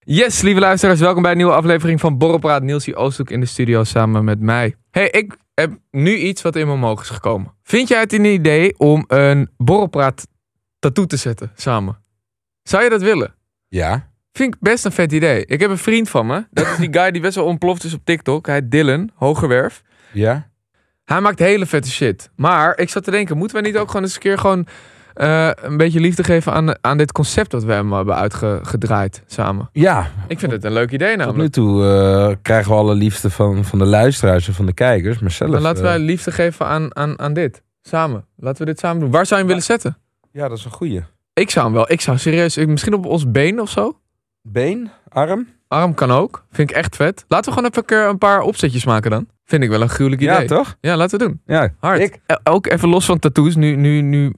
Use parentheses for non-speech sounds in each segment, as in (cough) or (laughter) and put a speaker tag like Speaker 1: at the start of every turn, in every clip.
Speaker 1: Yes, lieve luisteraars, welkom bij een nieuwe aflevering van Borrelpraat. Nielsie Oosthoek in de studio samen met mij. hey, ik heb nu iets wat in me omhoog is gekomen. Vind jij het een idee om een Borrelpraat tattoo te zetten samen? Zou je dat willen?
Speaker 2: Ja.
Speaker 1: Vind ik best een vet idee. Ik heb een vriend van me. Dat is die guy die best wel ontploft is op TikTok. Hij heet Dylan, Hogerwerf.
Speaker 2: Ja.
Speaker 1: Hij maakt hele vette shit. Maar ik zat te denken, moeten wij niet ook gewoon eens een keer gewoon eh, een beetje liefde geven aan, aan dit concept dat we hem hebben uitgedraaid samen?
Speaker 2: Ja.
Speaker 1: Ik vind het een leuk idee
Speaker 2: Tot
Speaker 1: namelijk.
Speaker 2: nu toe eh, krijgen we alle liefde van, van de luisteraars en van de kijkers. Maar zelf...
Speaker 1: Dan laten
Speaker 2: eh,
Speaker 1: wij liefde geven aan, aan, aan dit. Samen. Laten we dit samen doen. Waar zou je hem willen zetten?
Speaker 2: Ja, dat is een goeie.
Speaker 1: Ik zou hem wel. Ik zou serieus. ik- Misschien op ons been of zo.
Speaker 2: Been, arm.
Speaker 1: Arm kan ook. Vind ik echt vet. Laten we gewoon even een keer een paar opzetjes maken dan. Vind ik wel een gruwelijk idee.
Speaker 2: Ja, toch?
Speaker 1: Ja, laten we doen.
Speaker 2: Ja.
Speaker 1: Hard.
Speaker 2: Ik?
Speaker 1: Eh, Ook even los van tattoos. Nu, nu, nu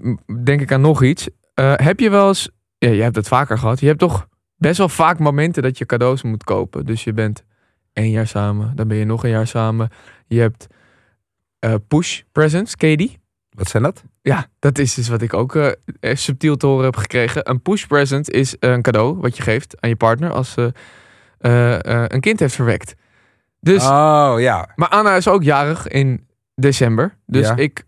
Speaker 1: denk ik aan nog iets. Eh, heb je wel eens... Ja, je hebt het vaker gehad. Je hebt toch best wel vaak momenten dat je cadeaus moet kopen. Dus je bent één jaar samen. Dan ben je nog een jaar samen. Je hebt eh, push presents. Ken je die?
Speaker 2: Wat zijn dat?
Speaker 1: Ja, dat is dus wat ik ook eh, eh, subtiel te horen heb gekregen. Een push present is eh, een cadeau wat je geeft aan je partner als ze eh, eh, een kind heeft verwekt. Dus,
Speaker 2: Oh, ja.
Speaker 1: Maar Anna is ook jarig in december. Dus
Speaker 2: Ja.
Speaker 1: ik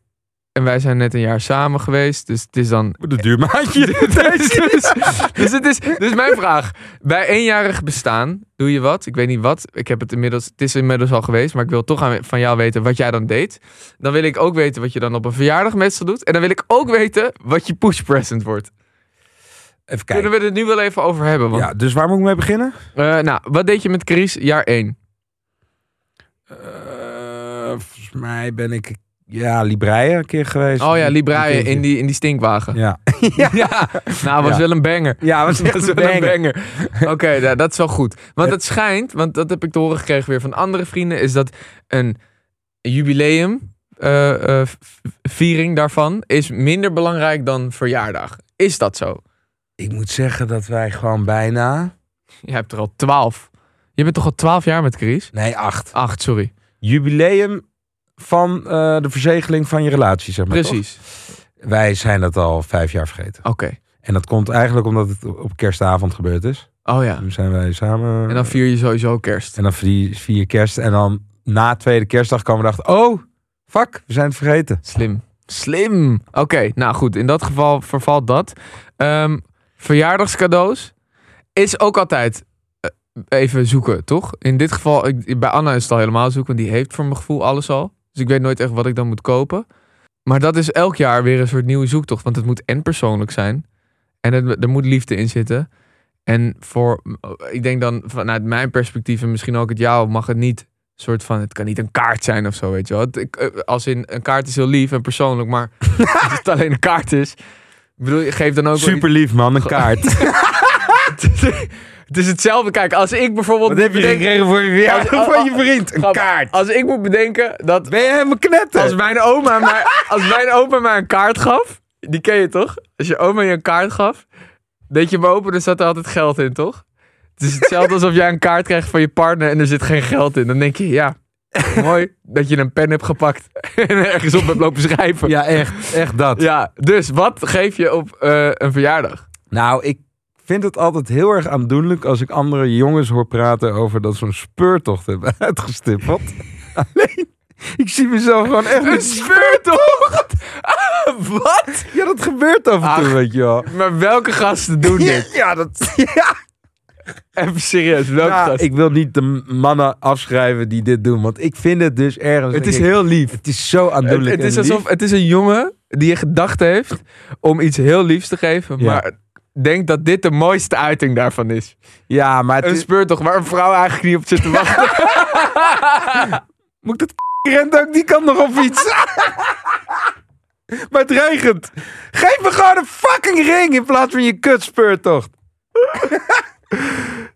Speaker 1: en wij zijn net een jaar samen geweest. Dus het is dan.
Speaker 2: De
Speaker 1: (laughs)
Speaker 2: (laughs) duurmaatje.
Speaker 1: dus, dus, dus het is. Dus mijn vraag. Bij eenjarig bestaan doe je wat? Ik weet niet wat. Ik heb het inmiddels. Het is inmiddels al geweest. Maar ik wil toch aan- van jou weten wat jij dan deed. Dan wil ik ook weten wat je dan op een verjaardag meestal doet. En dan wil ik ook weten wat je push present wordt.
Speaker 2: Even kijken.
Speaker 1: Kunnen we het nu wel even over hebben? Want,
Speaker 2: Ja, dus waar moet ik mee beginnen?
Speaker 1: Eh, nou, wat deed je met Chris jaar 1?
Speaker 2: Eh, volgens mij ben ik... Ja, Libraïe een keer geweest.
Speaker 1: Oh ja, Libraïen
Speaker 2: Een keertje.
Speaker 1: in die, in die stinkwagen.
Speaker 2: Ja.
Speaker 1: (laughs) Ja, nou, was
Speaker 2: Ja.
Speaker 1: wel een banger. (laughs)
Speaker 2: Ja, was
Speaker 1: Dat
Speaker 2: echt
Speaker 1: is
Speaker 2: een
Speaker 1: wel een
Speaker 2: banger.
Speaker 1: banger. (laughs) Oké, nou, dat is wel goed. Want het schijnt, want dat heb ik te horen gekregen weer van andere vrienden, is dat een jubileum, eh, eh, v- viering daarvan, is minder belangrijk dan verjaardag. Is dat zo?
Speaker 2: Ik moet zeggen dat wij gewoon bijna...
Speaker 1: Je hebt er al twaalf. Je bent toch al twaalf jaar met Chris?
Speaker 2: Nee, acht.
Speaker 1: Acht, sorry.
Speaker 2: Jubileum van eh, de verzegeling van je relatie, zeg maar. toch?
Speaker 1: Precies.
Speaker 2: Wij zijn dat al vijf jaar vergeten.
Speaker 1: Oké.
Speaker 2: En dat komt eigenlijk omdat het op kerstavond gebeurd is.
Speaker 1: Oh ja.
Speaker 2: Toen zijn wij samen.
Speaker 1: En dan vier je sowieso kerst.
Speaker 2: en dan vier, vier kerst. En dan na tweede kerstdag kwamen we dachten: oh, fuck, we zijn het vergeten.
Speaker 1: Slim. Slim. Oké, nou goed. In dat geval vervalt dat. Ehm, verjaardagscadeaus is ook altijd eh, even zoeken, toch? In dit geval, ik, bij Anna is het al helemaal zoeken, want die heeft voor mijn gevoel alles al. Dus ik weet nooit echt wat ik dan moet kopen. Maar dat is elk jaar weer een soort nieuwe zoektocht, want het moet en persoonlijk zijn. En het, er moet liefde in zitten. En voor, eh, ik denk dan vanuit mijn perspectief en misschien ook het jouw, mag het niet soort van, het kan niet een kaart zijn of zo, weet je wel. Het- ik, eh, als in, een kaart is heel lief en persoonlijk, maar (laughs) als het alleen een kaart is. Ik bedoel, je geeft dan ook... wel iets-
Speaker 2: Super lief, man, een
Speaker 1: (laughs)
Speaker 2: kaart.
Speaker 1: het is hetzelfde. Kijk, als ik bijvoorbeeld...
Speaker 2: Wat heb je
Speaker 1: bedenk-
Speaker 2: gekregen voor je verjaardag van je vriend? Een
Speaker 1: Grap,
Speaker 2: kaart.
Speaker 1: Als ik moet bedenken dat...
Speaker 2: Ben je helemaal
Speaker 1: Als
Speaker 2: knetter?
Speaker 1: mijn, oma mij, als mijn opa mij een kaart gaf... Die ken je toch? Als je oma je een kaart gaf... Deed je hem open, dan zat er altijd geld in, toch? Het is hetzelfde alsof jij een kaart krijgt van je partner... en er zit geen geld in. Dan denk je, ja... Mooi dat je een pen hebt gepakt (laughs) en ergens op hebt lopen schrijven.
Speaker 2: Ja, echt, echt dat.
Speaker 1: Ja, dus wat geef je op eh, een verjaardag?
Speaker 2: Nou, ik vind het altijd heel erg aandoenlijk als ik andere jongens hoor praten over dat ze een speurtocht hebben
Speaker 1: (laughs)
Speaker 2: (laughs) uitgestippeld. Alleen, ik zie mezelf gewoon echt
Speaker 1: Een
Speaker 2: niet.
Speaker 1: speurtocht! (laughs) wat?
Speaker 2: Ja, dat gebeurt af en toe,
Speaker 1: Ach.
Speaker 2: weet je wel.
Speaker 1: Maar welke gasten doen dit? (laughs)
Speaker 2: Ja, dat. Ja.
Speaker 1: Even serieus, welke
Speaker 2: Ja,
Speaker 1: gasten?
Speaker 2: ik wil niet de mannen afschrijven die dit doen, want ik vind het dus ergens.
Speaker 1: het
Speaker 2: denk
Speaker 1: is
Speaker 2: ik,
Speaker 1: heel lief.
Speaker 2: Het is zo
Speaker 1: Het,
Speaker 2: aandoenlijk.
Speaker 1: het is
Speaker 2: en lief.
Speaker 1: alsof het is een jongen die een gedachte heeft om iets heel liefs te geven,
Speaker 2: Ja.
Speaker 1: maar denkt dat dit de mooiste uiting daarvan is.
Speaker 2: Ja, maar het
Speaker 1: Een
Speaker 2: is...
Speaker 1: speurtocht waar een vrouw eigenlijk niet op zit te wachten.
Speaker 2: moet ik dat rent ook die kant nog op fietsen. maar het regent. Geef me gewoon een fucking ring in plaats van je kutspeurtocht.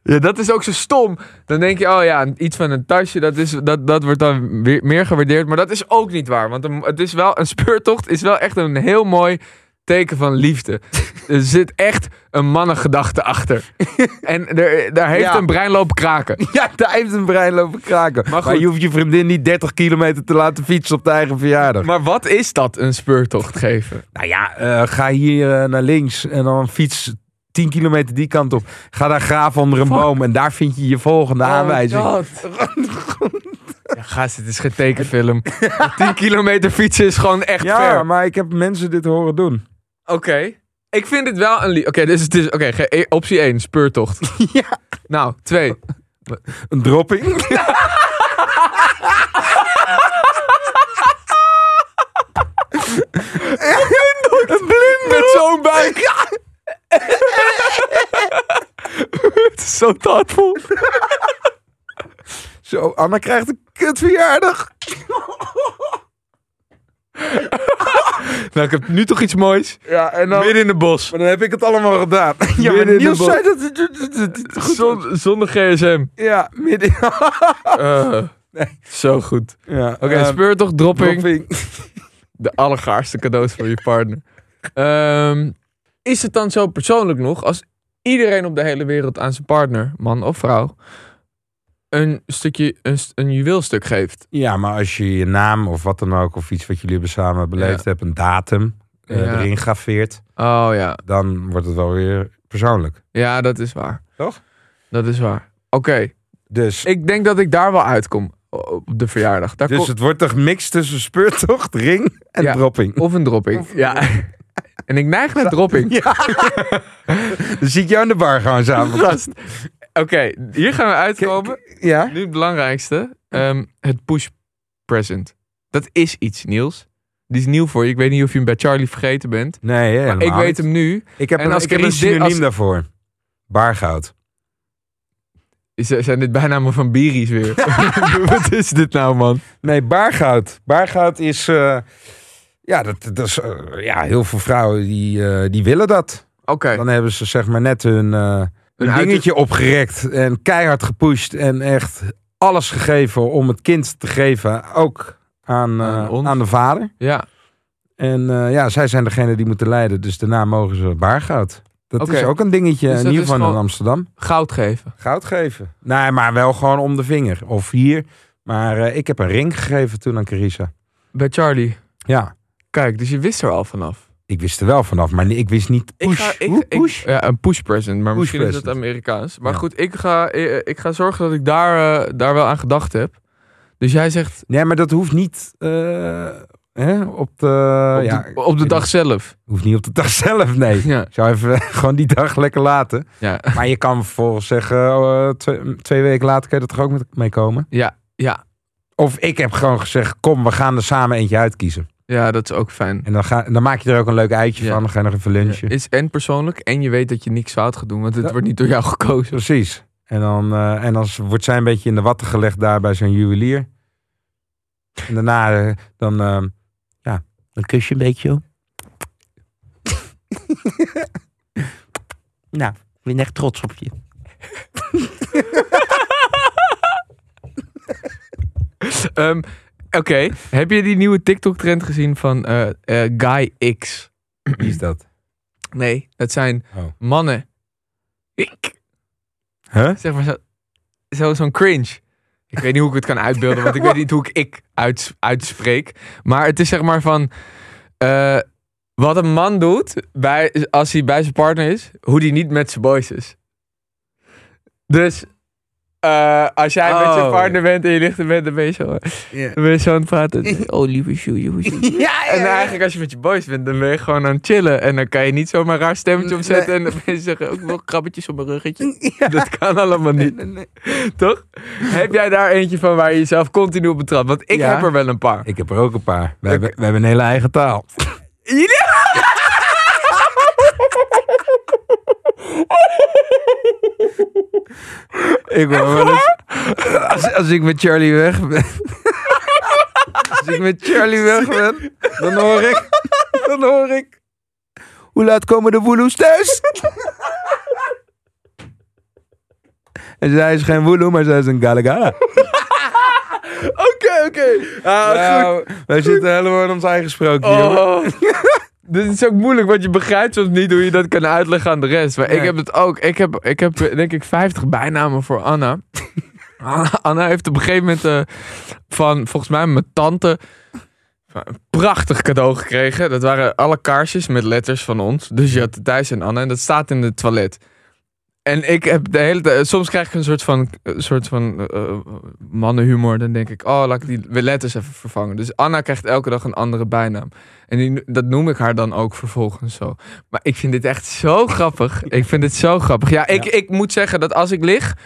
Speaker 1: Ja, dat is ook zo stom. Dan denk je, oh ja, een- iets van een tasje, dat, is, dat, dat wordt dan weer meer gewaardeerd. Maar dat is ook niet waar. Want een- het is wel, een speurtocht is wel echt een heel mooi teken van
Speaker 2: (laughs)
Speaker 1: liefde. er zit echt een mannengedachte achter. en er, daar heeft
Speaker 2: Ja.
Speaker 1: een brein lopen kraken.
Speaker 2: Ja, daar heeft een brein lopen kraken. Maar,
Speaker 1: goed.
Speaker 2: je hoeft je vriendin niet 30 kilometer te laten fietsen op de eigen verjaardag.
Speaker 1: Maar wat is dat, een speurtocht geven?
Speaker 2: Nou ja, eh, ga hier eh, naar links en dan fiets 10 kilometer die kant op. Ga daar graven onder een
Speaker 1: Fuck.
Speaker 2: boom en daar vind je je volgende aanwijzing.
Speaker 1: Ja, gast, het is geen (laughs) tekenfilm. 10 kilometer fietsen is gewoon echt
Speaker 2: ja,
Speaker 1: ver.
Speaker 2: maar ik heb mensen dit horen doen.
Speaker 1: Oké. Ik vind dit wel een... li- Oké, dus het is... Oké, ge- optie 1, (laughs) speurtocht.
Speaker 2: Ja.
Speaker 1: Nou, 2.
Speaker 2: Een dropping. (laughs)
Speaker 1: Een blind (laughs) met zo'n buik. het is (laughs) zo thoughtful.
Speaker 2: Zo, Anna krijgt een kutverjaardag.
Speaker 1: Nou, ik heb nu toch iets moois.
Speaker 2: Ja, en dan,
Speaker 1: Midden in het bos.
Speaker 2: maar dan heb ik het allemaal gedaan.
Speaker 1: Midden
Speaker 2: Ja,
Speaker 1: in
Speaker 2: maar
Speaker 1: de
Speaker 2: Niels
Speaker 1: bos.
Speaker 2: zei dat het- het het- het- het goed was.
Speaker 1: Zon- zonder gsm.
Speaker 2: Ja, midden. (laughs)
Speaker 1: Eh, Zo goed.
Speaker 2: Ja,
Speaker 1: Oké,
Speaker 2: ehm,
Speaker 1: speurtocht, dropping.
Speaker 2: dropping.
Speaker 1: De allergaarste cadeaus voor je partner. Ehm, is het dan zo persoonlijk nog als iedereen op de hele wereld aan zijn partner, man of vrouw, een stukje, een, st- een juweelstuk geeft?
Speaker 2: Ja, maar als je je naam of wat dan ook, of iets wat jullie hebben samen beleefd hebt, een datum eh,
Speaker 1: Ja.
Speaker 2: erin graveert,
Speaker 1: Oh ja,
Speaker 2: dan wordt het wel weer persoonlijk.
Speaker 1: ja, dat is waar.
Speaker 2: Toch?
Speaker 1: Dat is waar. Oké,
Speaker 2: Dus,
Speaker 1: ik denk dat ik daar wel uitkom o- op de verjaardag. Daar
Speaker 2: dus
Speaker 1: kom-
Speaker 2: het wordt toch mix tussen speurtocht, ring en
Speaker 1: Ja.
Speaker 2: dropping.
Speaker 1: Of een dropping. Ja. (laughs) En ik neig naar dropping.
Speaker 2: (laughs) Dan zie ik jou in de bar gewoon samen.
Speaker 1: Gast. Oké, hier gaan we uitkomen.
Speaker 2: Ja?
Speaker 1: Nu het belangrijkste. ehm, het push present. Dat is iets, Niels. Die is nieuw voor je. Ik weet niet of je hem bij Charlie vergeten bent.
Speaker 2: Nee,
Speaker 1: Maar ik weet hem nu.
Speaker 2: Ik heb,
Speaker 1: En
Speaker 2: een,
Speaker 1: als
Speaker 2: ik heb
Speaker 1: Chris
Speaker 2: een
Speaker 1: dit-
Speaker 2: synoniem
Speaker 1: als-
Speaker 2: daarvoor. Baargoud.
Speaker 1: Is- Zijn dit bijnamen van Biris (laughs) weer? Wat is dit nou, man?
Speaker 2: Nee, baargoud. Baargout is... eh, ja, dat, dat is, eh, ja, heel veel vrouwen die, eh, die willen dat.
Speaker 1: Oké.
Speaker 2: Dan hebben ze zeg maar net hun, eh, hun
Speaker 1: uit-
Speaker 2: dingetje opgerekt. En keihard gepusht. En echt alles gegeven om het kind te geven. Ook aan, eh,
Speaker 1: Aan ons.
Speaker 2: aan de vader.
Speaker 1: Ja.
Speaker 2: En eh, ja, zij zijn degene die moeten leiden. Dus daarna mogen ze baargoud. Dat
Speaker 1: Oké.
Speaker 2: is ook een dingetje.
Speaker 1: Dus
Speaker 2: in
Speaker 1: dat
Speaker 2: ieder
Speaker 1: is
Speaker 2: geval in
Speaker 1: gewoon-
Speaker 2: Amsterdam.
Speaker 1: Goud geven.
Speaker 2: Goud geven. Nee, maar wel gewoon om de vinger. Of hier. Maar eh, ik heb een ring gegeven toen aan Carissa.
Speaker 1: Bij Charlie.
Speaker 2: Ja,
Speaker 1: Kijk, dus je wist er al vanaf.
Speaker 2: ik wist er wel vanaf. Maar ik wist niet push.
Speaker 1: ga-
Speaker 2: Hoe push?
Speaker 1: Ik, ja, een push present. Maar
Speaker 2: Push
Speaker 1: misschien is dat
Speaker 2: present.
Speaker 1: Amerikaans. Maar
Speaker 2: Ja.
Speaker 1: goed, ik ga, eh, ik ga zorgen dat ik daar, eh, daar wel aan gedacht heb. Dus jij zegt
Speaker 2: Nee, maar dat hoeft niet eh, hè, op de...
Speaker 1: op,
Speaker 2: Eh, ja,
Speaker 1: de, op de dag zelf.
Speaker 2: Hoeft niet op de dag (laughs) zelf, nee.
Speaker 1: Ja.
Speaker 2: Ik zou even (laughs) gewoon die dag lekker laten.
Speaker 1: Ja.
Speaker 2: Maar je kan vervolgens zeggen, oh, eh, twee, twee weken later kan je er toch ook met- mee komen?
Speaker 1: Ja, ja,
Speaker 2: Of ik heb gewoon gezegd, kom, we gaan er samen eentje uitkiezen.
Speaker 1: ja, dat is ook fijn.
Speaker 2: En dan, ga, dan maak je er ook een leuk uitje
Speaker 1: Ja.
Speaker 2: van. Dan ga je nog even lunchen.
Speaker 1: Is en persoonlijk en je weet dat je niks fout gaat doen, want het
Speaker 2: Ja.
Speaker 1: wordt niet door jou gekozen.
Speaker 2: Precies. En dan, eh, en dan wordt zij een beetje in de watten gelegd daar bij zo'n juwelier. En daarna, eh, dan, eh, ja, dan kus je een beetje. joh.
Speaker 3: Nou, ik ben echt trots op je.
Speaker 1: Ehm, Oké, heb je die nieuwe TikTok-trend gezien van eh, eh, Guy X?
Speaker 2: Wie is dat?
Speaker 1: Nee, dat zijn
Speaker 2: Oh.
Speaker 1: mannen. Ik,
Speaker 2: Huh?
Speaker 1: zeg maar zo- zo, zo'n cringe. Ik weet niet hoe ik het kan uitbeelden, want ik
Speaker 2: (laughs)
Speaker 1: weet niet hoe ik ik uits- uitspreek. Maar het is zeg maar van... eh, wat een man doet bij, als hij bij zijn partner is, hoe die niet met zijn boys is. Dus eh, als jij met zijn
Speaker 2: Oh.
Speaker 1: partner bent en je ligt er bent, dan ben je zo,
Speaker 2: (laughs)
Speaker 1: dan ben je zo aan het praten. Oh, lieve sjoe, lieve sjoe.
Speaker 3: Ja,
Speaker 1: En
Speaker 2: (laughs)
Speaker 1: eigenlijk als je met je boys bent, dan ben je gewoon aan het chillen. En dan kan je niet zomaar een raar stemmetje opzetten. En dan ben je zeggen, "Oh, ik wil krabbetjes op mijn ruggetje. (laughs) Dat kan allemaal niet. Toch? Heb jij daar eentje van waar je jezelf continu op betrapt? Want ik
Speaker 2: Ja.
Speaker 1: heb er wel een paar.
Speaker 2: Ik heb er ook een paar. We, hebben, we hebben een hele eigen taal.
Speaker 1: Jullie?
Speaker 2: (laughs) Ik wil wel eens- als, als ik met Charlie weg ben. (laughs) Als ik met
Speaker 1: (laughs)
Speaker 2: Charlie weg ben, dan hoor ik. Dan hoor ik. Hoe laat komen de woeloes thuis? (laughs) En zij is geen woeloe, maar zij is een galagala.
Speaker 1: Oké, oké. Ah, goed.
Speaker 2: Nou, wij zitten helemaal in ons eigen sprookje. jongen.
Speaker 1: Oh. (laughs) Dit is ook moeilijk, want je begrijpt soms niet hoe je dat kan uitleggen aan de rest. Maar ik
Speaker 2: Nee.
Speaker 1: heb het ook. Ik heb, ik heb eh, denk ik 50 bijnamen voor Anna. Anna, Anna heeft op een gegeven moment eh, van, volgens mij, mijn tante. een prachtig cadeau gekregen. Dat waren alle kaarsjes met letters van ons. Dus je had Thijs en Anne en dat staat in het toilet. En ik heb de hele tijd, soms krijg ik een soort van, een soort van eh, eh, mannenhumor. Dan denk ik, oh, laat ik die letters even vervangen. Dus Anna krijgt elke dag een andere bijnaam. En die, dat noem ik haar dan ook vervolgens zo. Maar ik vind dit echt zo grappig. Ik vind dit zo grappig. Ja, ik,
Speaker 3: Ja.
Speaker 1: ik moet zeggen dat als ik lig,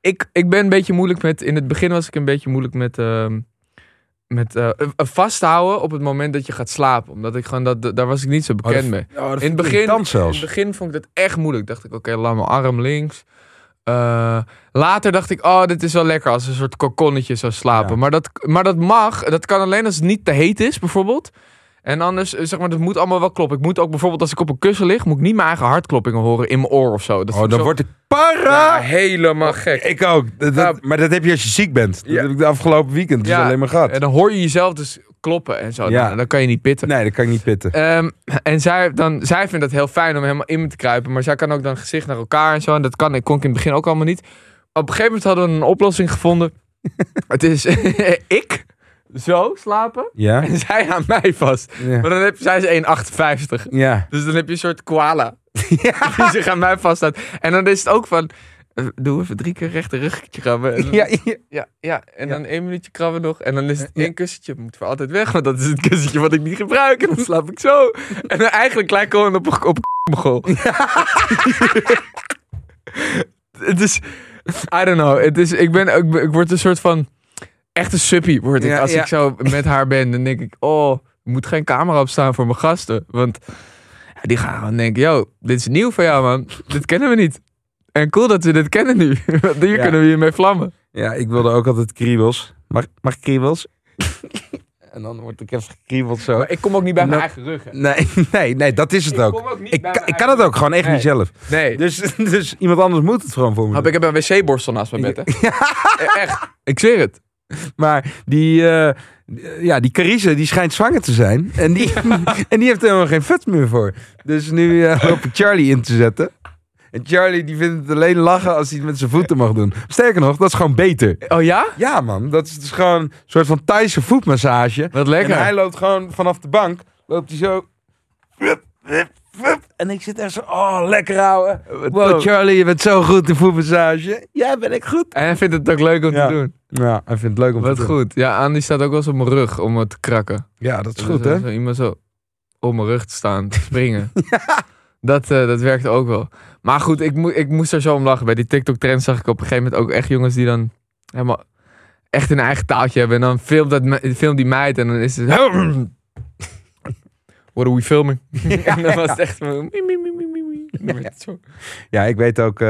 Speaker 1: ik, ik ben een beetje moeilijk met. In het begin was ik een beetje moeilijk met. ehm, met eh, eh, vasthouden op het moment dat je gaat slapen. Omdat ik gewoon dat, dat- daar was ik niet zo bekend mee. In het begin,
Speaker 2: Dan
Speaker 1: in
Speaker 2: zelfs.
Speaker 1: het begin vond ik dat echt moeilijk. Dacht ik, oké, laat mijn arm links. Eh, later dacht ik, oh, dit is wel lekker als een soort kokonnetje zou slapen.
Speaker 2: Ja.
Speaker 1: Maar, dat, maar dat mag. Dat kan alleen als het niet te heet is, bijvoorbeeld. En anders, eh, zeg maar, dat moet allemaal wel kloppen. Ik moet ook bijvoorbeeld als ik op een kussen lig, moet ik niet mijn eigen hartkloppingen horen in mijn oor of zo. Dat
Speaker 2: Oh,
Speaker 1: vind ik
Speaker 2: dan
Speaker 1: zo-
Speaker 2: word ik para.
Speaker 1: Ja, helemaal gek. Nou,
Speaker 2: Ik ook. Dat- dat- maar dat heb je als je ziek bent. Dat
Speaker 1: Ja.
Speaker 2: heb ik de afgelopen weekend dus
Speaker 1: Ja.
Speaker 2: alleen maar gehad.
Speaker 1: En dan hoor je jezelf dus kloppen en zo. Nou,
Speaker 2: Ja.
Speaker 1: Dan, dan kan je niet pitten.
Speaker 2: Nee, dat kan ik niet pitten.
Speaker 1: Ehm, en zij, dan, zij vindt dat heel fijn om helemaal in me te kruipen. Maar zij kan ook dan gezicht naar elkaar en zo. En dat kan, ik kon ik in het begin ook allemaal niet. Op een gegeven moment hadden we een oplossing gevonden. het is (laughs) ik zo slapen
Speaker 2: Ja?
Speaker 1: en zij aan mij vast.
Speaker 2: Ja.
Speaker 1: Maar dan heb, zij is 1,58.
Speaker 2: Ja.
Speaker 1: Dus dan heb je een soort koala die zich aan mij vaststaat. En dan is het ook van... eh, Doe even drie keer rechter ruggetje krabben. En dan-
Speaker 2: Ja, ja.
Speaker 1: ja, ja, en
Speaker 2: Ja.
Speaker 1: dan één minuutje krabben nog. En dan is het
Speaker 2: Ja.
Speaker 1: één kussentje. Het moet voor altijd weg, want dat is het kussentje wat ik niet gebruik. En dan slaap ik
Speaker 2: (laughs)
Speaker 1: zo. En dan eigenlijk lijk ik gewoon op een (laughs) op een mogol. (laughs) Het is... I don't know. Het is, ik, ben, ik, ben- ik word een soort van... Echte suppie word ik.
Speaker 2: Ja,
Speaker 1: als
Speaker 2: ja.
Speaker 1: ik zo met haar ben, dan denk ik... Oh, er moet geen camera op staan voor mijn gasten. Want ja, die gaan gewoon denken... Yo, dit is nieuw voor jou, man. Dit kennen we niet. En cool dat we dit kennen nu. (laughs) Want hier
Speaker 2: Ja.
Speaker 1: kunnen we hiermee vlammen.
Speaker 2: Ja, ik wilde ook altijd kriebels. Mag, mag
Speaker 1: (laughs)
Speaker 2: kriebels? en dan word ik even gekriebeld zo.
Speaker 1: Maar ik kom ook niet bij
Speaker 2: Nou,
Speaker 1: mijn eigen rug. hè.
Speaker 2: Nee, (laughs) nee, nee, dat is het
Speaker 1: Ik
Speaker 2: ook.
Speaker 1: kom ook niet
Speaker 2: Ik,
Speaker 1: bij
Speaker 2: kan-
Speaker 1: mijn
Speaker 2: ik kan het ook gewoon echt
Speaker 1: Nee.
Speaker 2: niet zelf.
Speaker 1: Nee.
Speaker 2: Dus, (laughs) dus iemand anders moet het gewoon voor me
Speaker 1: Hap,
Speaker 2: doen.
Speaker 1: ik heb een wc-borstel naast mijn bed, hè.
Speaker 2: (laughs)
Speaker 1: E- Echt. Ik zweer het.
Speaker 2: Maar die, eh, ja, die Carice, die schijnt zwanger te zijn. En (laughs) die, en die heeft er helemaal geen fut meer voor. Dus nu (laughs) eh, loop ik Charlie in te zetten. En Charlie die vindt het alleen lachen als hij het met zijn voeten mag doen. Sterker nog, dat is gewoon beter.
Speaker 1: Oh ja?
Speaker 2: Ja man, dat is dus gewoon een soort van Thaise voetmassage.
Speaker 1: Wat
Speaker 2: En hij
Speaker 1: lekker.
Speaker 2: loopt gewoon vanaf de bank, loopt hij zo... Wup, wup, wup. En ik zit echt zo, oh lekker ouwe. Wow
Speaker 1: tof.
Speaker 2: Charlie, je bent zo goed in voetmassage. Ja, ben ik goed.
Speaker 1: En hij vindt het ook leuk om
Speaker 2: Ja.
Speaker 1: te doen.
Speaker 2: Ja, hij vindt het leuk om
Speaker 1: Wat
Speaker 2: te doen.
Speaker 1: goed. Ja, Andy staat ook wel eens op mijn rug om het te krakken.
Speaker 2: Ja, dat
Speaker 1: Dus
Speaker 2: is goed hè.
Speaker 1: als er Iemand zo op mijn rug te staan, te
Speaker 2: (laughs)
Speaker 1: springen. Dat, eh, dat werkt ook wel. Maar goed, ik, moe- ik moest er zo om lachen. Bij die TikTok-trend zag ik op een gegeven moment ook echt jongens die dan helemaal echt hun eigen taaltje hebben. En dan filmt, dat, me- filmt die meid en dan is het... (clears throat) What are we filming? (laughs) en dan was het echt van... mie, mie, mie, mie, mie, mie. Dan werd het zo.
Speaker 2: Ja, ik weet ook. eh,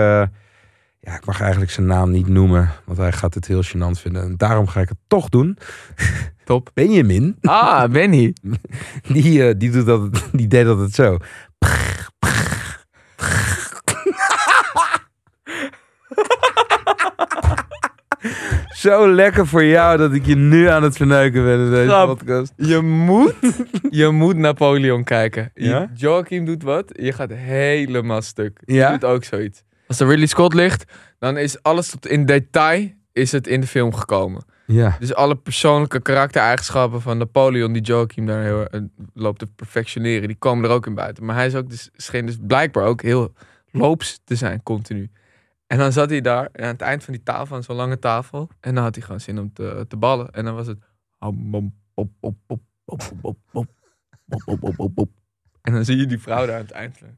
Speaker 2: ja, ik mag eigenlijk zijn naam niet noemen, want hij gaat het heel gênant vinden. En daarom ga ik het toch doen. (laughs)
Speaker 1: Top.
Speaker 2: Benjamin,
Speaker 1: Ah, Benny.
Speaker 2: die, eh, die, doet dat, die deed dat het zo. (laughs) Zo lekker voor jou dat ik je nu aan het verneuken ben in deze
Speaker 1: Grap.
Speaker 2: podcast.
Speaker 1: Je moet, (laughs) je moet Napoleon kijken. Je-
Speaker 2: Ja?
Speaker 1: Joachim doet wat, je gaat helemaal stuk. Je
Speaker 2: Ja?
Speaker 1: doet ook zoiets. Als er Ridley Scott ligt, dan is alles tot in detail is het in de film gekomen.
Speaker 2: Ja.
Speaker 1: Dus alle persoonlijke karaktereigenschappen van Napoleon, die Joachim daar heel, eh, loopt te perfectioneren, die komen er ook in buiten. Maar hij is ook dus, scheen dus blijkbaar ook heel loops te zijn, continu. En dan zat hij daar en aan het eind van die tafel, aan zo'n lange tafel, en dan had hij gewoon zin om te, te ballen. En dan was het... ham, bom, bop, bop, bop, bop, bop, bop, bop, bop, bop, bop, bop, bop. En dan zie je die vrouw daar aan het eind. van,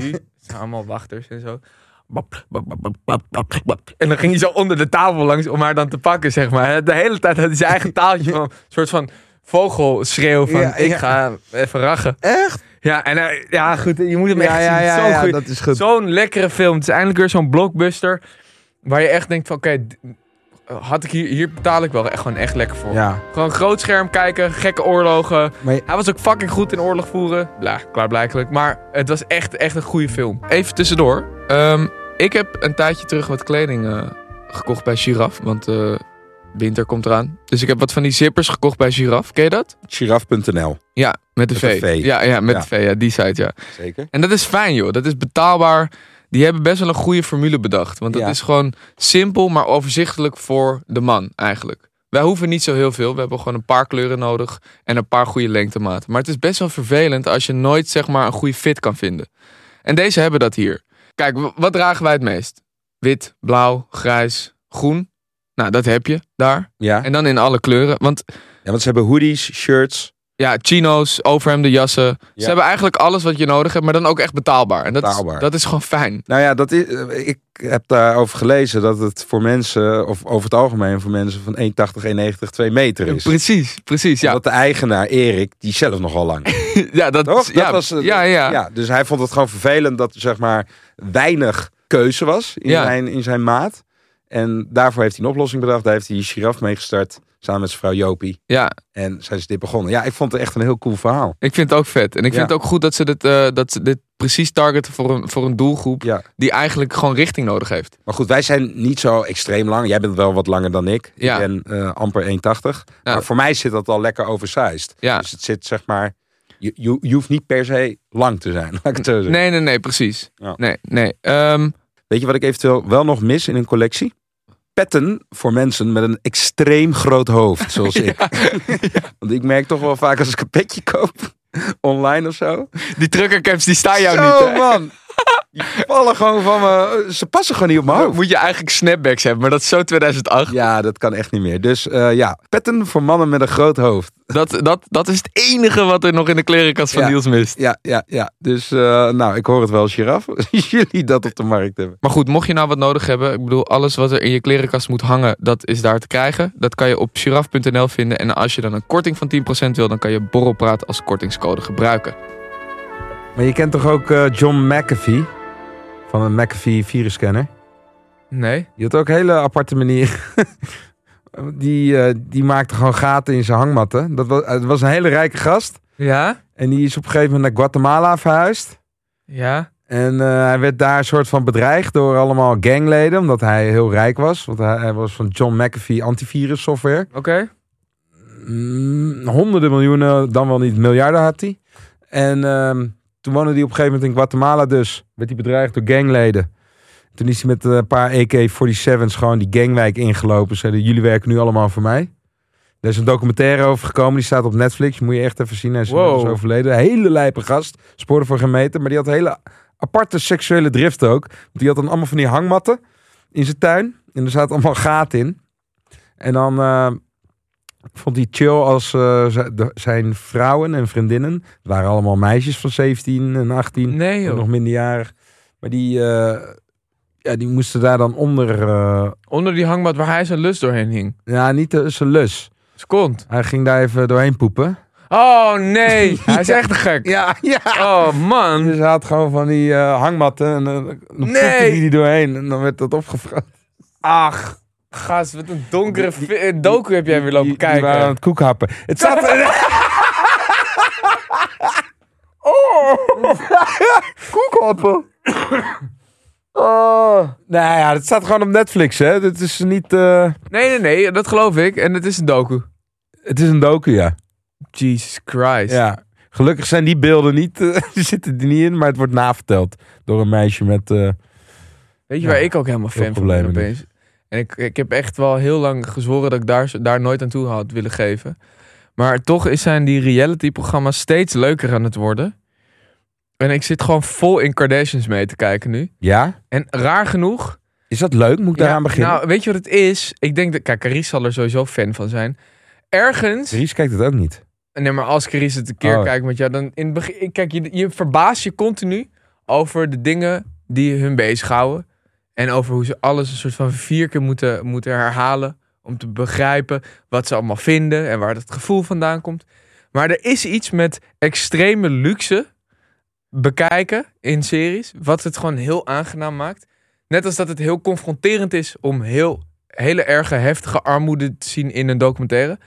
Speaker 1: Die zijn allemaal wachters en zo. Bap, bap, bap, bap, bap, bap, bap. En dan ging hij zo onder de tafel langs om haar dan te pakken, zeg maar. De hele tijd had hij zijn eigen taaltje van een soort van vogelschreeuw van
Speaker 2: Ja,
Speaker 1: ik
Speaker 2: ja.
Speaker 1: ga even rachen.
Speaker 2: Echt?
Speaker 1: Ja, en hij- ja, Ah, goed, je moet hem echt
Speaker 2: Ja, ja,
Speaker 1: zien.
Speaker 2: ja,
Speaker 1: Zo'n
Speaker 2: ja,
Speaker 1: goeie-
Speaker 2: dat is goed.
Speaker 1: Zo'n lekkere film. Het is eindelijk weer zo'n blockbuster. Waar je echt denkt van, oké, d- had ik hier, hier betaal ik wel echt gewoon echt lekker voor.
Speaker 2: Ja,
Speaker 1: Gewoon groot scherm kijken, gekke oorlogen.
Speaker 2: maar je-
Speaker 1: Hij was ook fucking goed in oorlog voeren. Bla, klaarblijkelijk. Maar het was echt, echt een goede film. Even tussendoor. Ehm, ik heb een tijdje terug wat kleding eh, gekocht bij Giraf. Want eh, winter komt eraan. Dus ik heb wat van die zippers gekocht bij Giraf. Ken je dat?
Speaker 2: giraf.nl.
Speaker 1: Ja, met de
Speaker 2: Met
Speaker 1: V.
Speaker 2: een V.
Speaker 1: Ja, ja, met
Speaker 2: Ja.
Speaker 1: de V. Ja, die site, ja.
Speaker 2: Zeker.
Speaker 1: En dat is fijn, joh. Dat is betaalbaar. Die hebben best wel een goede formule bedacht. Want dat
Speaker 2: Ja.
Speaker 1: is gewoon simpel, maar overzichtelijk voor de man eigenlijk. Wij hoeven niet zo heel veel. We hebben gewoon een paar kleuren nodig en een paar goede lengtematen. Maar het is best wel vervelend als je nooit zeg maar een goede fit kan vinden. En deze hebben dat hier. Kijk, w- wat dragen wij het meest? Wit, blauw, grijs, groen. Nou, dat heb je daar.
Speaker 2: Ja.
Speaker 1: En dan in alle kleuren. Want
Speaker 2: ja, want ze hebben hoodies, shirts.
Speaker 1: ja, chino's, overhemden, jassen. Ze hebben eigenlijk alles wat je nodig hebt, maar dan ook echt betaalbaar. En dat, Is,
Speaker 2: Betaalbaar.
Speaker 1: dat is gewoon fijn.
Speaker 2: Nou ja, dat is, eh, ik heb daarover gelezen dat het voor mensen, of over het algemeen voor mensen van 1,80, 1,90, 2 meter is.
Speaker 1: Precies, precies. Ja,
Speaker 2: Dat de eigenaar, Erik, die is zelf nogal lang. is.
Speaker 1: (laughs) ja dat,
Speaker 2: Toch? Dat
Speaker 1: ja,
Speaker 2: was, eh,
Speaker 1: ja, ja.
Speaker 2: Ja, dus hij vond het gewoon vervelend dat er zeg maar weinig keuze was in,
Speaker 1: Ja.
Speaker 2: zijn, in zijn maat. En daarvoor heeft hij een oplossing bedacht. Daar heeft hij Giraf mee gestart, samen met zijn vrouw Jopie.
Speaker 1: Ja,
Speaker 2: En zijn ze dit begonnen. Ja, ik vond het echt een heel cool verhaal.
Speaker 1: ik vind het ook vet. En ik
Speaker 2: Ja.
Speaker 1: vind het ook goed dat ze dit, eh, dat ze dit precies targeten voor een, voor een doelgroep
Speaker 2: Ja.
Speaker 1: die eigenlijk gewoon richting nodig heeft.
Speaker 2: Maar goed, wij zijn niet zo extreem lang. Jij bent wel wat langer dan ik.
Speaker 1: Ja.
Speaker 2: Ik ben eh, amper 1,80. Maar voor mij zit dat al lekker oversized.
Speaker 1: Ja.
Speaker 2: Dus het zit zeg maar... Je, je, je hoeft niet per se lang te zijn. (laughs) laat ik het zo zeggen.
Speaker 1: Nee, nee, nee, precies.
Speaker 2: Ja.
Speaker 1: Nee, nee. Ehm,
Speaker 2: Weet je wat ik eventueel wel nog mis in een collectie? Petten voor mensen met een extreem groot hoofd, zoals
Speaker 1: (laughs)
Speaker 2: ik. Want ik merk toch wel vaak als ik een petje koop, (laughs) online of zo.
Speaker 1: die truckercaps die staan jou
Speaker 2: zo,
Speaker 1: niet. hè.
Speaker 2: man. Die vallen gewoon van me. Ze passen gewoon niet op mijn hoofd.
Speaker 1: Moet je eigenlijk snapbacks hebben, maar dat is zo 2008.
Speaker 2: Oh. Ja, dat kan echt niet meer. Dus eh, ja, petten voor mannen met een groot hoofd.
Speaker 1: Dat, dat, dat is het enige wat er nog in de klerenkast van
Speaker 2: Ja.
Speaker 1: Niels mist.
Speaker 2: Ja, ja, ja. Dus eh, nou, ik hoor het wel, giraf. (laughs) als Jullie dat op de markt hebben.
Speaker 1: Maar goed, mocht je nou wat nodig hebben, ik bedoel, alles wat er in je klerenkast moet hangen, dat is daar te krijgen. Dat kan je op giraf.nl vinden. En als je dan een korting van 10% wil, dan kan je Borrelpraat als kortingscode gebruiken.
Speaker 2: Maar je kent toch ook eh, John McAfee? Van een McAfee virusscanner.
Speaker 1: Nee?
Speaker 2: Die had ook hele aparte manier. (laughs) die, eh, die maakte gewoon gaten in zijn hangmatten. Dat was, het was een hele rijke gast.
Speaker 1: Ja?
Speaker 2: En die is op een gegeven moment naar Guatemala verhuisd.
Speaker 1: Ja?
Speaker 2: En eh, hij werd daar een soort van bedreigd door allemaal gangleden. Omdat hij heel rijk was. Want hij, hij was van John McAfee antivirus software.
Speaker 1: Oké.
Speaker 2: Mm, honderden miljoenen, dan wel niet miljarden had hij. En ehm, toen woonde hij op een gegeven moment in Guatemala dus. Werd hij bedreigd door gangleden. Toen is hij met een paar AK-47's gewoon die gangwijk ingelopen. Zeiden, jullie werken nu allemaal voor mij. Er is een documentaire over gekomen, die staat op Netflix. Moet je echt even zien. Hij is
Speaker 1: Wow.
Speaker 2: inmiddels overleden. Hele lijpe gast, sporen voor gemeten. Maar die had hele aparte seksuele drift ook. Want die had dan allemaal van die hangmatten in zijn tuin. En er zaten allemaal gaten in. En dan eh, vond hij chill als eh, z- de- zijn vrouwen en vriendinnen... Het waren allemaal meisjes van 17 en 18
Speaker 1: Nee,
Speaker 2: ook
Speaker 1: joh.
Speaker 2: nog minderjarig. Maar die, eh, ja, die moesten daar dan onder. eh,
Speaker 1: Onder die hangmat waar hij zijn lus doorheen hing.
Speaker 2: ja, niet de- zijn lus.
Speaker 1: Skont.
Speaker 2: Hij ging daar even doorheen poepen.
Speaker 1: Oh,
Speaker 2: (laughs)
Speaker 1: nee. Hij is echt een gek.
Speaker 2: Ja, ja.
Speaker 1: Oh, man.
Speaker 2: Dus hij had gewoon van die eh, hangmatten. En eh, dan poepte
Speaker 1: Nee.
Speaker 2: hij die doorheen. En dan werd dat opgevraagd.
Speaker 1: Ach, gast, wat een donkere
Speaker 2: Die-
Speaker 1: fi- eh, docu heb jij weer
Speaker 2: Die-
Speaker 1: lopen
Speaker 2: Die waren aan
Speaker 1: kijken.
Speaker 2: het koekhappen. Het zat
Speaker 1: (laughs)
Speaker 2: er...
Speaker 1: Oh!
Speaker 2: koekhappen. Oh. Nou ja, het staat gewoon op Netflix, hè. Dit is niet... eh,
Speaker 1: Nee, nee, nee, dat geloof ik. En het is een docu.
Speaker 2: Het is een docu, ja.
Speaker 1: Jesus Christ.
Speaker 2: Ja, gelukkig zijn die beelden niet, eh, (laughs) die zitten er niet in, maar het wordt naverteld door een meisje met... eh,
Speaker 1: Weet je
Speaker 2: Ja,
Speaker 1: waar ik ook helemaal fan van ben
Speaker 2: problemen
Speaker 1: opeens? En ik, ik heb echt wel heel lang gezworen dat ik daar, daar nooit aan toe had willen geven. Maar toch is- zijn die reality-programma's steeds leuker aan het worden. En ik zit gewoon vol in Kardashians mee te kijken nu.
Speaker 2: ja,
Speaker 1: En raar genoeg...
Speaker 2: is dat leuk? Moet ik daaraan
Speaker 1: Ja,
Speaker 2: beginnen?
Speaker 1: Nou, weet je wat het is? Ik denk dat... Kijk, Carice zal er sowieso fan van zijn. Ergens...
Speaker 2: Ries kijkt het ook niet.
Speaker 1: Nee, maar als Carice het een keer
Speaker 2: Oh.
Speaker 1: kijkt met jou, dan in het begin, kijk, je, je verbaast je continu over de dingen die hun bezighouden. En over hoe ze alles een soort van vier keer moeten, moeten herhalen. Om te begrijpen wat ze allemaal vinden en waar dat gevoel vandaan komt. Maar er is iets met extreme luxe bekijken in series. Wat het gewoon heel aangenaam maakt. Net als dat het heel confronterend is om heel, hele erge, heftige armoede te zien in een documentaire.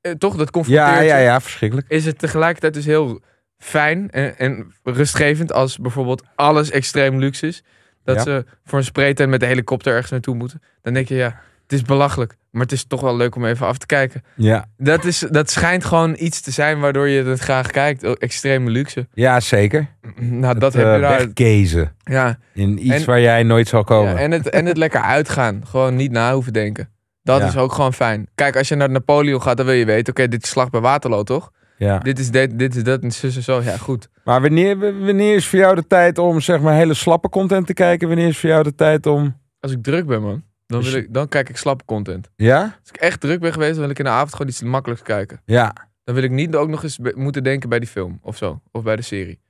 Speaker 1: Eh, toch, dat confronteert
Speaker 2: Ja,
Speaker 1: je
Speaker 2: ja, ja, verschrikkelijk.
Speaker 1: is het tegelijkertijd dus heel fijn en, en rustgevend als bijvoorbeeld alles extreem luxe is. Dat
Speaker 2: Ja.
Speaker 1: ze voor een spraytent met de helikopter ergens naartoe moeten. Dan denk je, ja, het is belachelijk. Maar het is toch wel leuk om even af te kijken.
Speaker 2: Ja,
Speaker 1: Dat, is, dat schijnt gewoon iets te zijn waardoor je het graag kijkt. Oh, Extreme luxe.
Speaker 2: ja zeker.
Speaker 1: Nou, dat
Speaker 2: Het,
Speaker 1: heb
Speaker 2: eh,
Speaker 1: je daar.
Speaker 2: Weggezen
Speaker 1: Ja,
Speaker 2: in iets
Speaker 1: En-
Speaker 2: waar jij nooit zal komen.
Speaker 1: ja en, het, en het lekker uitgaan. Gewoon niet na hoeven denken. Dat
Speaker 2: Ja.
Speaker 1: is ook gewoon fijn. Kijk, als je naar Napoleon gaat, dan wil je weten, oké, dit is slag bij Waterloo, toch?
Speaker 2: Ja.
Speaker 1: Dit is dit, dit is dat en zus en zo. Ja, goed.
Speaker 2: Maar wanneer, wanneer is voor jou de tijd om zeg maar hele slappe content te kijken? Wanneer is voor jou de tijd om...
Speaker 1: Als ik druk ben, man, dan,
Speaker 2: Dus
Speaker 1: wil ik, dan kijk ik slappe content.
Speaker 2: Ja?
Speaker 1: Als ik echt druk ben geweest, dan wil ik in de avond gewoon iets makkelijks kijken.
Speaker 2: Ja.
Speaker 1: Dan wil ik niet ook nog eens be- moeten denken bij die film of zo. Of bij de serie.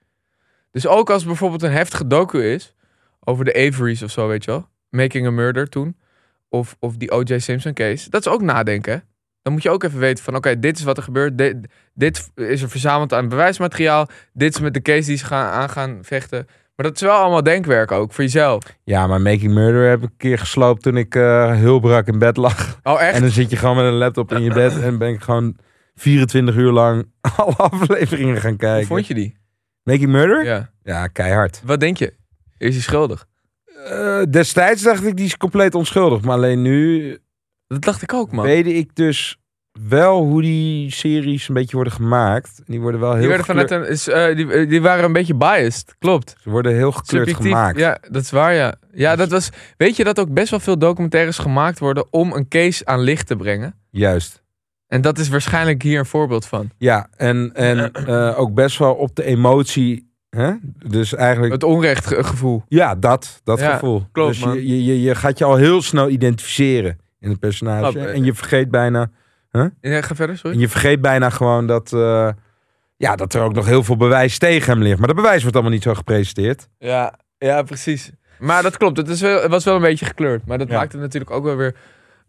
Speaker 1: Dus ook als bijvoorbeeld een heftige docu is. Over de Averys of zo, weet je wel. Making a Murder toen. Of, of die O.J. Simpson case. Dat is ook nadenken. hè. Dan moet je ook even weten van... Oké, dit is wat er gebeurt. Dit, dit is er verzameld aan bewijsmateriaal. Dit is met de case die ze gaan, aan gaan vechten. Maar dat is wel allemaal denkwerk ook. Voor jezelf.
Speaker 2: Ja, maar Making Murder heb ik een keer gesloopt toen ik eh, heel brak in bed lag.
Speaker 1: Oh, echt?
Speaker 2: En dan zit je gewoon met een laptop in je bed en ben ik gewoon 24 uur lang (laughs) alle afleveringen gaan
Speaker 1: Hoe
Speaker 2: kijken.
Speaker 1: vond je die?
Speaker 2: Making Murder? Ja,
Speaker 1: Ja.
Speaker 2: keihard.
Speaker 1: Wat denk je? Is hij schuldig?
Speaker 2: Eh, destijds dacht ik, die is compleet onschuldig. Maar alleen nu
Speaker 1: Dat dacht ik ook, man.
Speaker 2: weet ik dus wel hoe die series een beetje worden gemaakt. En Die worden wel
Speaker 1: Die,
Speaker 2: heel
Speaker 1: werden vanuit
Speaker 2: gekleurd,
Speaker 1: een, is, eh, die, die waren een beetje biased. Klopt.
Speaker 2: ze worden heel gekleurd gemaakt. Dus-
Speaker 1: Ja, dat is waar, ja. Ja, dat was... Weet je dat ook best wel veel documentaires gemaakt worden om een case aan licht te brengen?
Speaker 2: Juist.
Speaker 1: En dat is waarschijnlijk hier een voorbeeld van.
Speaker 2: Ja, en,
Speaker 1: (clears throat)
Speaker 2: en eh, ook best wel op de emotie. Hè? Dus eigenlijk,
Speaker 1: Het onrechtgevoel.
Speaker 2: ja, dat, dat
Speaker 1: Ja,
Speaker 2: gevoel.
Speaker 1: klopt,
Speaker 2: dus
Speaker 1: man.
Speaker 2: je, je, je, je gaat je al heel snel identificeren in het personage.
Speaker 1: Klopt.
Speaker 2: en je vergeet bijna,
Speaker 1: Ja, ga verder, sorry.
Speaker 2: en je vergeet bijna gewoon dat, eh, ja, dat er ook nog heel veel bewijs tegen hem ligt. Maar dat bewijs wordt allemaal niet zo gepresenteerd.
Speaker 1: Ja, ja precies. Maar dat klopt. Het, is wel, het was wel een beetje gekleurd. Maar dat
Speaker 2: Ja.
Speaker 1: maakt het natuurlijk ook wel weer...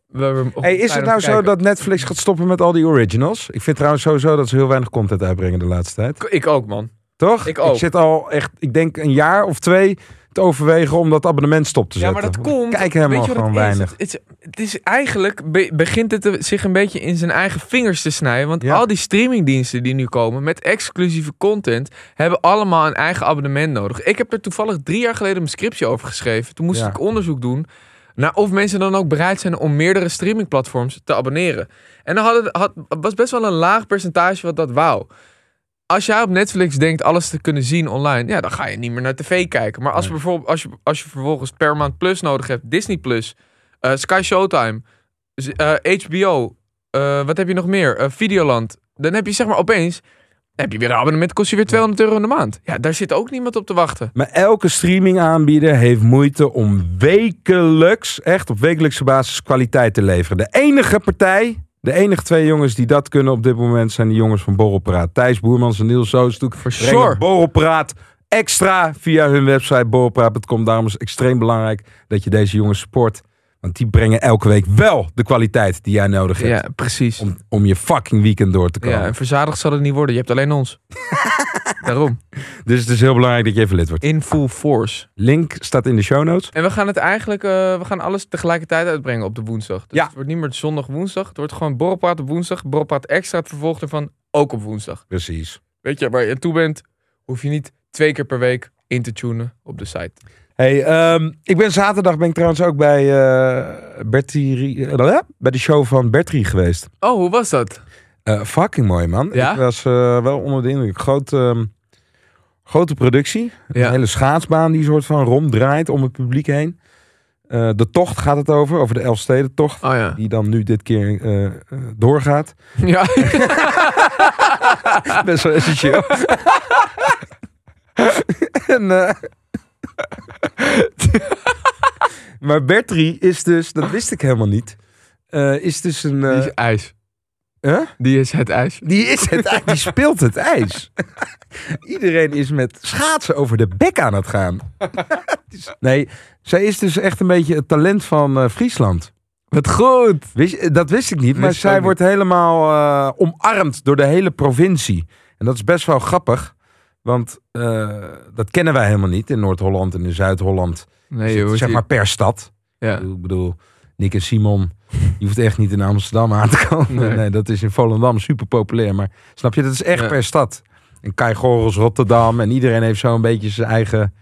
Speaker 1: wel weer op-
Speaker 2: Hey,
Speaker 1: fijn
Speaker 2: is het
Speaker 1: om
Speaker 2: nou
Speaker 1: te
Speaker 2: zo
Speaker 1: kijken.
Speaker 2: dat Netflix gaat stoppen met al die originals? Ik vind trouwens sowieso dat ze heel weinig content uitbrengen de laatste tijd.
Speaker 1: Ik ook, man.
Speaker 2: Toch?
Speaker 1: Ik ook.
Speaker 2: Ik zit al echt, ik denk een jaar of twee te overwegen om dat abonnement stop te
Speaker 1: Ja,
Speaker 2: zetten.
Speaker 1: maar dat
Speaker 2: Want
Speaker 1: komt...
Speaker 2: Ik
Speaker 1: Weet
Speaker 2: kijk helemaal
Speaker 1: je wat
Speaker 2: gewoon
Speaker 1: het is?
Speaker 2: weinig.
Speaker 1: Het, het is, het is eigenlijk... be- begint het er zich een beetje in zijn eigen vingers te snijden. Want
Speaker 2: Ja.
Speaker 1: al die streamingdiensten die nu komen... met exclusieve content... hebben allemaal een eigen abonnement nodig. Ik heb er toevallig drie jaar geleden mijn scriptje over geschreven. Toen moest
Speaker 2: Ja.
Speaker 1: ik onderzoek doen... naar of mensen dan ook bereid zijn... om meerdere streamingplatforms te abonneren. En dan hadden, had, was best wel een laag percentage wat dat wou. Als jij op Netflix denkt alles te kunnen zien online, ja, dan ga je niet meer naar tv kijken. Maar als,
Speaker 2: Nee.
Speaker 1: bijvoorbeeld, als, je, als je vervolgens per maand Plus nodig hebt, Disney Plus, eh, Sky Showtime, z- eh, HBO, eh, wat heb je nog meer? Eh, Videoland. Dan heb je zeg maar opeens, dan heb je weer een abonnement, kost je weer 200 euro in de maand. Ja, daar zit ook niemand op te wachten.
Speaker 2: Maar elke streamingaanbieder heeft moeite om wekelijks, echt op wekelijkse basis, kwaliteit te leveren. De enige partij, de enige twee jongens die dat kunnen op dit moment zijn de jongens van Borrelpraat. Thijs Boermans en Niels Zoostuk
Speaker 1: For
Speaker 2: brengen
Speaker 1: sure.
Speaker 2: Borrelpraat extra via hun website borrelpraat.com. Daarom is het extreem belangrijk dat je deze jongens support. Want die brengen elke week wel de kwaliteit die jij nodig hebt
Speaker 1: Ja, precies.
Speaker 2: om, om je fucking weekend door te komen.
Speaker 1: Ja, en verzadigd zal het niet worden. Je hebt alleen ons. Daarom.
Speaker 2: Dus het is heel belangrijk dat je even lid wordt.
Speaker 1: In full force.
Speaker 2: Link staat in de show notes.
Speaker 1: En we gaan het eigenlijk, eh, we gaan alles tegelijkertijd uitbrengen op de woensdag. Dus
Speaker 2: Ja.
Speaker 1: het wordt niet meer zondag-woensdag. Het wordt gewoon borrelpraat op woensdag. Borrelpraat extra het vervolg ervan ook op woensdag.
Speaker 2: Precies.
Speaker 1: Weet je, waar je aan toe bent, hoef je niet twee keer per week in te tunen op de site.
Speaker 2: Hey, ehm, ik ben zaterdag ben ik trouwens ook bij, eh Bertie, Rie- eh, bij de show van Bertrie geweest.
Speaker 1: Oh, hoe was dat?
Speaker 2: Eh, fucking mooi man.
Speaker 1: Ja?
Speaker 2: Ik was eh, wel onder de indruk. Groot, ehm, grote productie. Een
Speaker 1: Ja.
Speaker 2: hele schaatsbaan die soort van ronddraait om het publiek heen. Eh, de tocht gaat het over, over de Elfstedentocht.
Speaker 1: Oh ja.
Speaker 2: Die dan nu dit keer eh, eh, doorgaat.
Speaker 1: Ja,
Speaker 2: (laughs) Best wel essentieel. en, eh, (laughs) maar Bertrie is dus, dat wist ik helemaal niet, eh, is dus een... eh,
Speaker 1: die is ijs.
Speaker 2: huh?
Speaker 1: Die is het ijs.
Speaker 2: Die is het ijs, die speelt het ijs. (laughs) Iedereen is met schaatsen over de bek aan het gaan. (laughs) Het is- nee, zij is dus echt een beetje het talent van eh, Friesland.
Speaker 1: Wat goed.
Speaker 2: Wist je- dat wist ik niet, maar
Speaker 1: Wist ik
Speaker 2: zij
Speaker 1: ook
Speaker 2: wordt helemaal eh, omarmd door de hele provincie. En dat is best wel grappig, want eh, dat kennen wij helemaal niet in Noord-Holland en in Zuid-Holland.
Speaker 1: Nee,
Speaker 2: Zit,
Speaker 1: joh.
Speaker 2: zeg
Speaker 1: die-
Speaker 2: maar per stad.
Speaker 1: Ja.
Speaker 2: Ik bedoel, Nick en Simon, je hoeft echt niet in Amsterdam aan te (laughs) komen. Nee,
Speaker 1: Nee.
Speaker 2: dat is in Volendam super populair, maar snap je, dat is echt
Speaker 1: Ja.
Speaker 2: per stad. En Kai Gorels, Rotterdam en iedereen heeft zo'n beetje zijn eigen,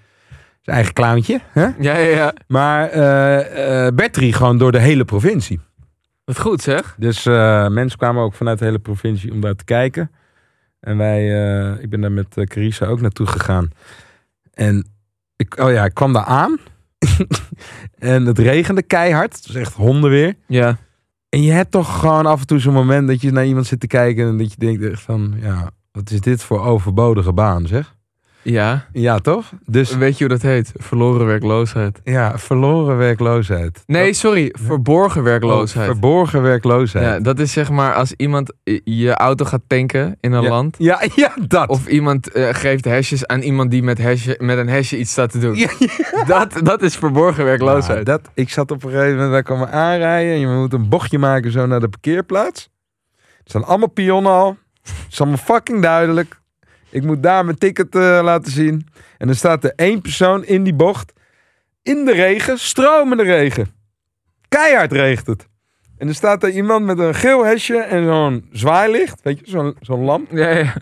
Speaker 2: zijn eigen clowntje. Hè?
Speaker 1: Ja, ja, ja.
Speaker 2: Maar eh eh Bertrie gewoon door de hele provincie.
Speaker 1: Wat goed zeg.
Speaker 2: Dus eh, mensen kwamen ook vanuit de hele provincie om daar te kijken. En wij, eh, ik ben daar met eh, Carissa ook naartoe gegaan. En ik, oh ja, ik (laughs) kwam daar aan. en het regende keihard. Het was echt hondenweer.
Speaker 1: Ja.
Speaker 2: En je hebt toch gewoon af en toe zo'n moment dat je naar iemand zit te kijken en dat je denkt echt van, ja, wat is dit voor overbodige baan, zeg?
Speaker 1: Ja.
Speaker 2: Ja, toch? Dus
Speaker 1: Weet je hoe dat heet? Verloren werkloosheid.
Speaker 2: ja, verloren werkloosheid.
Speaker 1: Nee, sorry. Verborgen werkloosheid.
Speaker 2: Oh, Verborgen werkloosheid.
Speaker 1: Ja, dat is zeg maar als iemand i- je auto gaat tanken in een
Speaker 2: Ja.
Speaker 1: land.
Speaker 2: Ja, (laughs) ja, dat.
Speaker 1: Of iemand eh, geeft hesjes aan iemand die met, hesje, met een hesje iets staat te doen.
Speaker 2: Ja,
Speaker 1: Dat, dat is verborgen werkloosheid.
Speaker 2: Ja, dat, ik zat op een gegeven moment, daar kwam me aanrijden. En je moet een bochtje maken zo naar de parkeerplaats. Er staan allemaal pionnen al. Het is allemaal fucking duidelijk. Ik moet daar mijn ticket eh, laten zien. En dan staat er één persoon in die bocht. In de regen, stromende regen. Keihard regent het. En er staat daar iemand met een geel hesje en zo'n zwaailicht. Weet je, zo'n zo'n lamp.
Speaker 1: Ja, ja.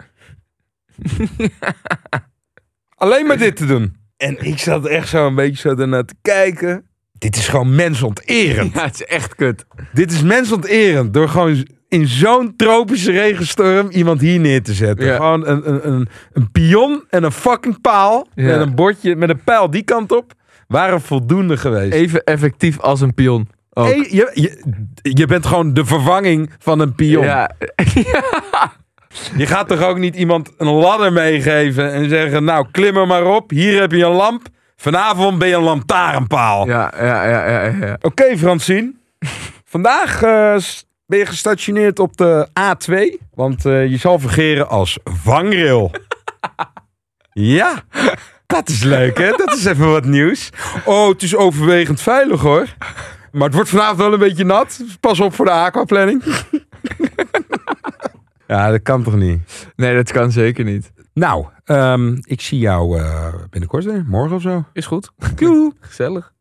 Speaker 2: Alleen maar dit te doen. En ik zat echt zo een beetje zo ernaar te kijken. Dit is gewoon mensonterend.
Speaker 1: Ja, het is echt kut.
Speaker 2: Dit is mensonterend. Door gewoon in zo'n tropische regenstorm iemand hier neer te zetten.
Speaker 1: Ja.
Speaker 2: Gewoon een, een, een, een pion en een fucking paal.
Speaker 1: Ja.
Speaker 2: Met een bordje, met een pijl die kant op. Waren voldoende geweest.
Speaker 1: Even effectief als een pion. ook.
Speaker 2: Hey, je, je, je bent gewoon de vervanging van een pion.
Speaker 1: Ja,
Speaker 2: Je gaat toch ook niet iemand een ladder meegeven en zeggen... Nou, klim er maar op. Hier heb je een lamp. Vanavond ben je een lantaarnpaal.
Speaker 1: ja, ja, ja, ja, ja.
Speaker 2: Oké, (laughs) Francine. Vandaag eh, s- ben je gestationeerd op de A2. Want eh, je zal vergeren als (laughs) vangrail. ja, dat is leuk, hè? Dat is even wat nieuws. Oh, het is overwegend veilig, hoor. Maar het wordt vanavond wel een beetje nat. Dus Pas op voor de aquaplanning. (laughs) ja, dat kan toch niet?
Speaker 1: Nee, dat kan zeker niet.
Speaker 2: Nou, ehm, ik zie jou eh, binnenkort weer. Morgen of zo.
Speaker 1: Is goed.
Speaker 2: Doei.
Speaker 1: Gezellig.